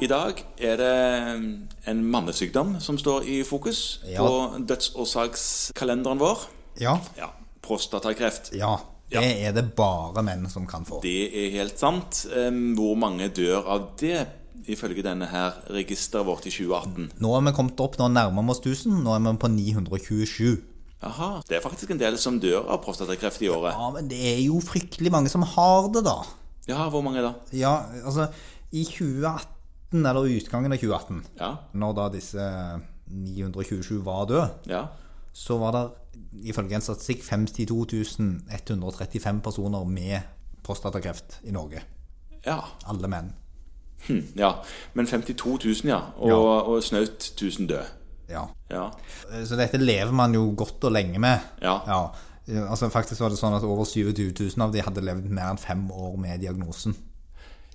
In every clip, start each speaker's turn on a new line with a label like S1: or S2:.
S1: I dag er det um, en mannesykdom som står i fokus
S2: Ja.
S1: på dødsårsakskalenderen vår.
S2: Ja.
S1: Ja, prostatakreft.
S2: ja. Det er det bare menn som kan få.
S1: Det er helt sant. Em, Hvor mange dør av det, ifølge denne her registeret vårt i 2018?
S2: Nå har vi kommet opp, nå nærmer vi oss 1000. Nå er vi på 927.
S1: Aha, det er faktisk en del som dør av prostatakreft i året.
S2: Ja, men det er jo fryktelig mange som har det, da.
S1: Ja, hvor mange da?
S2: Ja, altså I 2018, eller utgangen av 2018,
S1: Ja,
S2: når da disse 927 var døde,
S1: ja.
S2: så var det ifølge en statistikk 52.135 personer med prostatakreft i Norge.
S1: Ja,
S2: Alle menn.
S1: hm, ja. Men 52 000, ja. Og, og snaut 1000 død.
S2: Ja.
S1: Ja.
S2: Eh, Så dette lever man jo godt og lenge med.
S1: Ja.
S2: Altså Faktisk var det sånn at over 27 000 av de hadde levd mer enn fem år med diagnosen.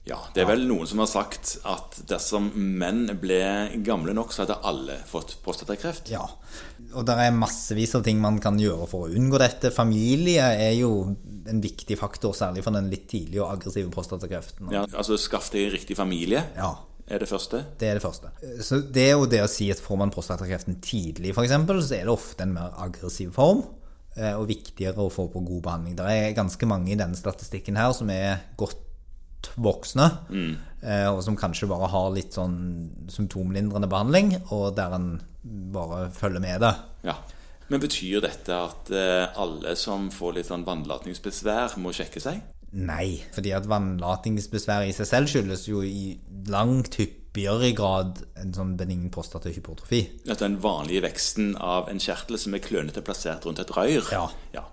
S1: Ja, det er vel noen som har sagt at dersom menn ble gamle nok, så hadde alle fått prostatakreft.
S2: Ja. Og det er massevis av ting man kan gjøre for å unngå dette. Familie er jo en viktig faktor, særlig for den litt tidlige og aggressive prostatakreften.
S1: Ja, altså skaff deg riktig familie,
S2: Ja,
S1: er det første.
S2: Det er det første. Så det er jo det å si at får man prostatakreften tidlig, f.eks., så er det ofte en mer aggressiv form. eh, Og viktigere å få på god behandling. Det er ganske mange i denne statistikken her som er godt voksne, eh, og som kanskje bare har litt sånn symptomlindrende behandling, og der en bare følger med det.
S1: Ja. Men betyr dette at eh, alle som får litt sånn vannlatningsbesvær, må sjekke seg?
S2: Nei. Fordi at vannlatingsbesvær i seg selv skyldes jo i langt hyppigere grad en sånn benign prostatahypertrofi.
S1: At den vanlige veksten av en kjertel som er klønete plassert rundt et røyr
S2: Ja.
S1: ja.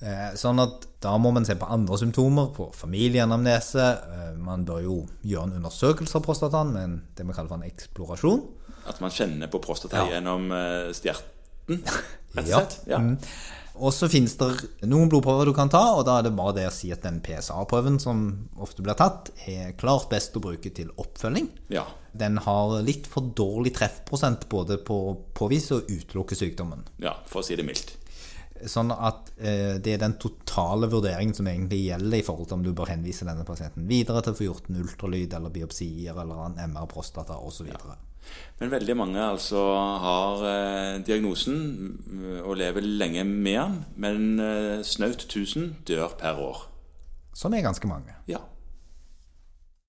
S2: Eh, Sånn at da må man se på andre symptomer, på familieanamnese. Eh, Man bør jo gjøre en undersøkelse av prostataen, men det vi kaller for en eksplorasjon.
S1: At man kjenner på prostata
S2: Ja.
S1: gjennom eh, stjerten, rett og
S2: Ja.
S1: slett. Ja.
S2: Mm. Og så finnes det noen blodprøver du kan ta, og da er det bare det å si at den PSA-prøven som ofte blir tatt, er klart best å bruke til oppfølging.
S1: Ja.
S2: Den har litt for dårlig treffprosent både på å påvise og utelukke sykdommen.
S1: ja, for å si det mildt.
S2: Sånn at eh, det er den totale vurderingen som egentlig gjelder i forhold til om du bør henvise denne pasienten videre til å få gjort en ultralyd eller biopsier eller en MR prostata osv. Ja.
S1: Men veldig mange altså har eh, diagnosen mm, og lever lenge med den, men eh, snaut 1000 dør per år.
S2: Som Sånn er ganske mange.
S1: Ja.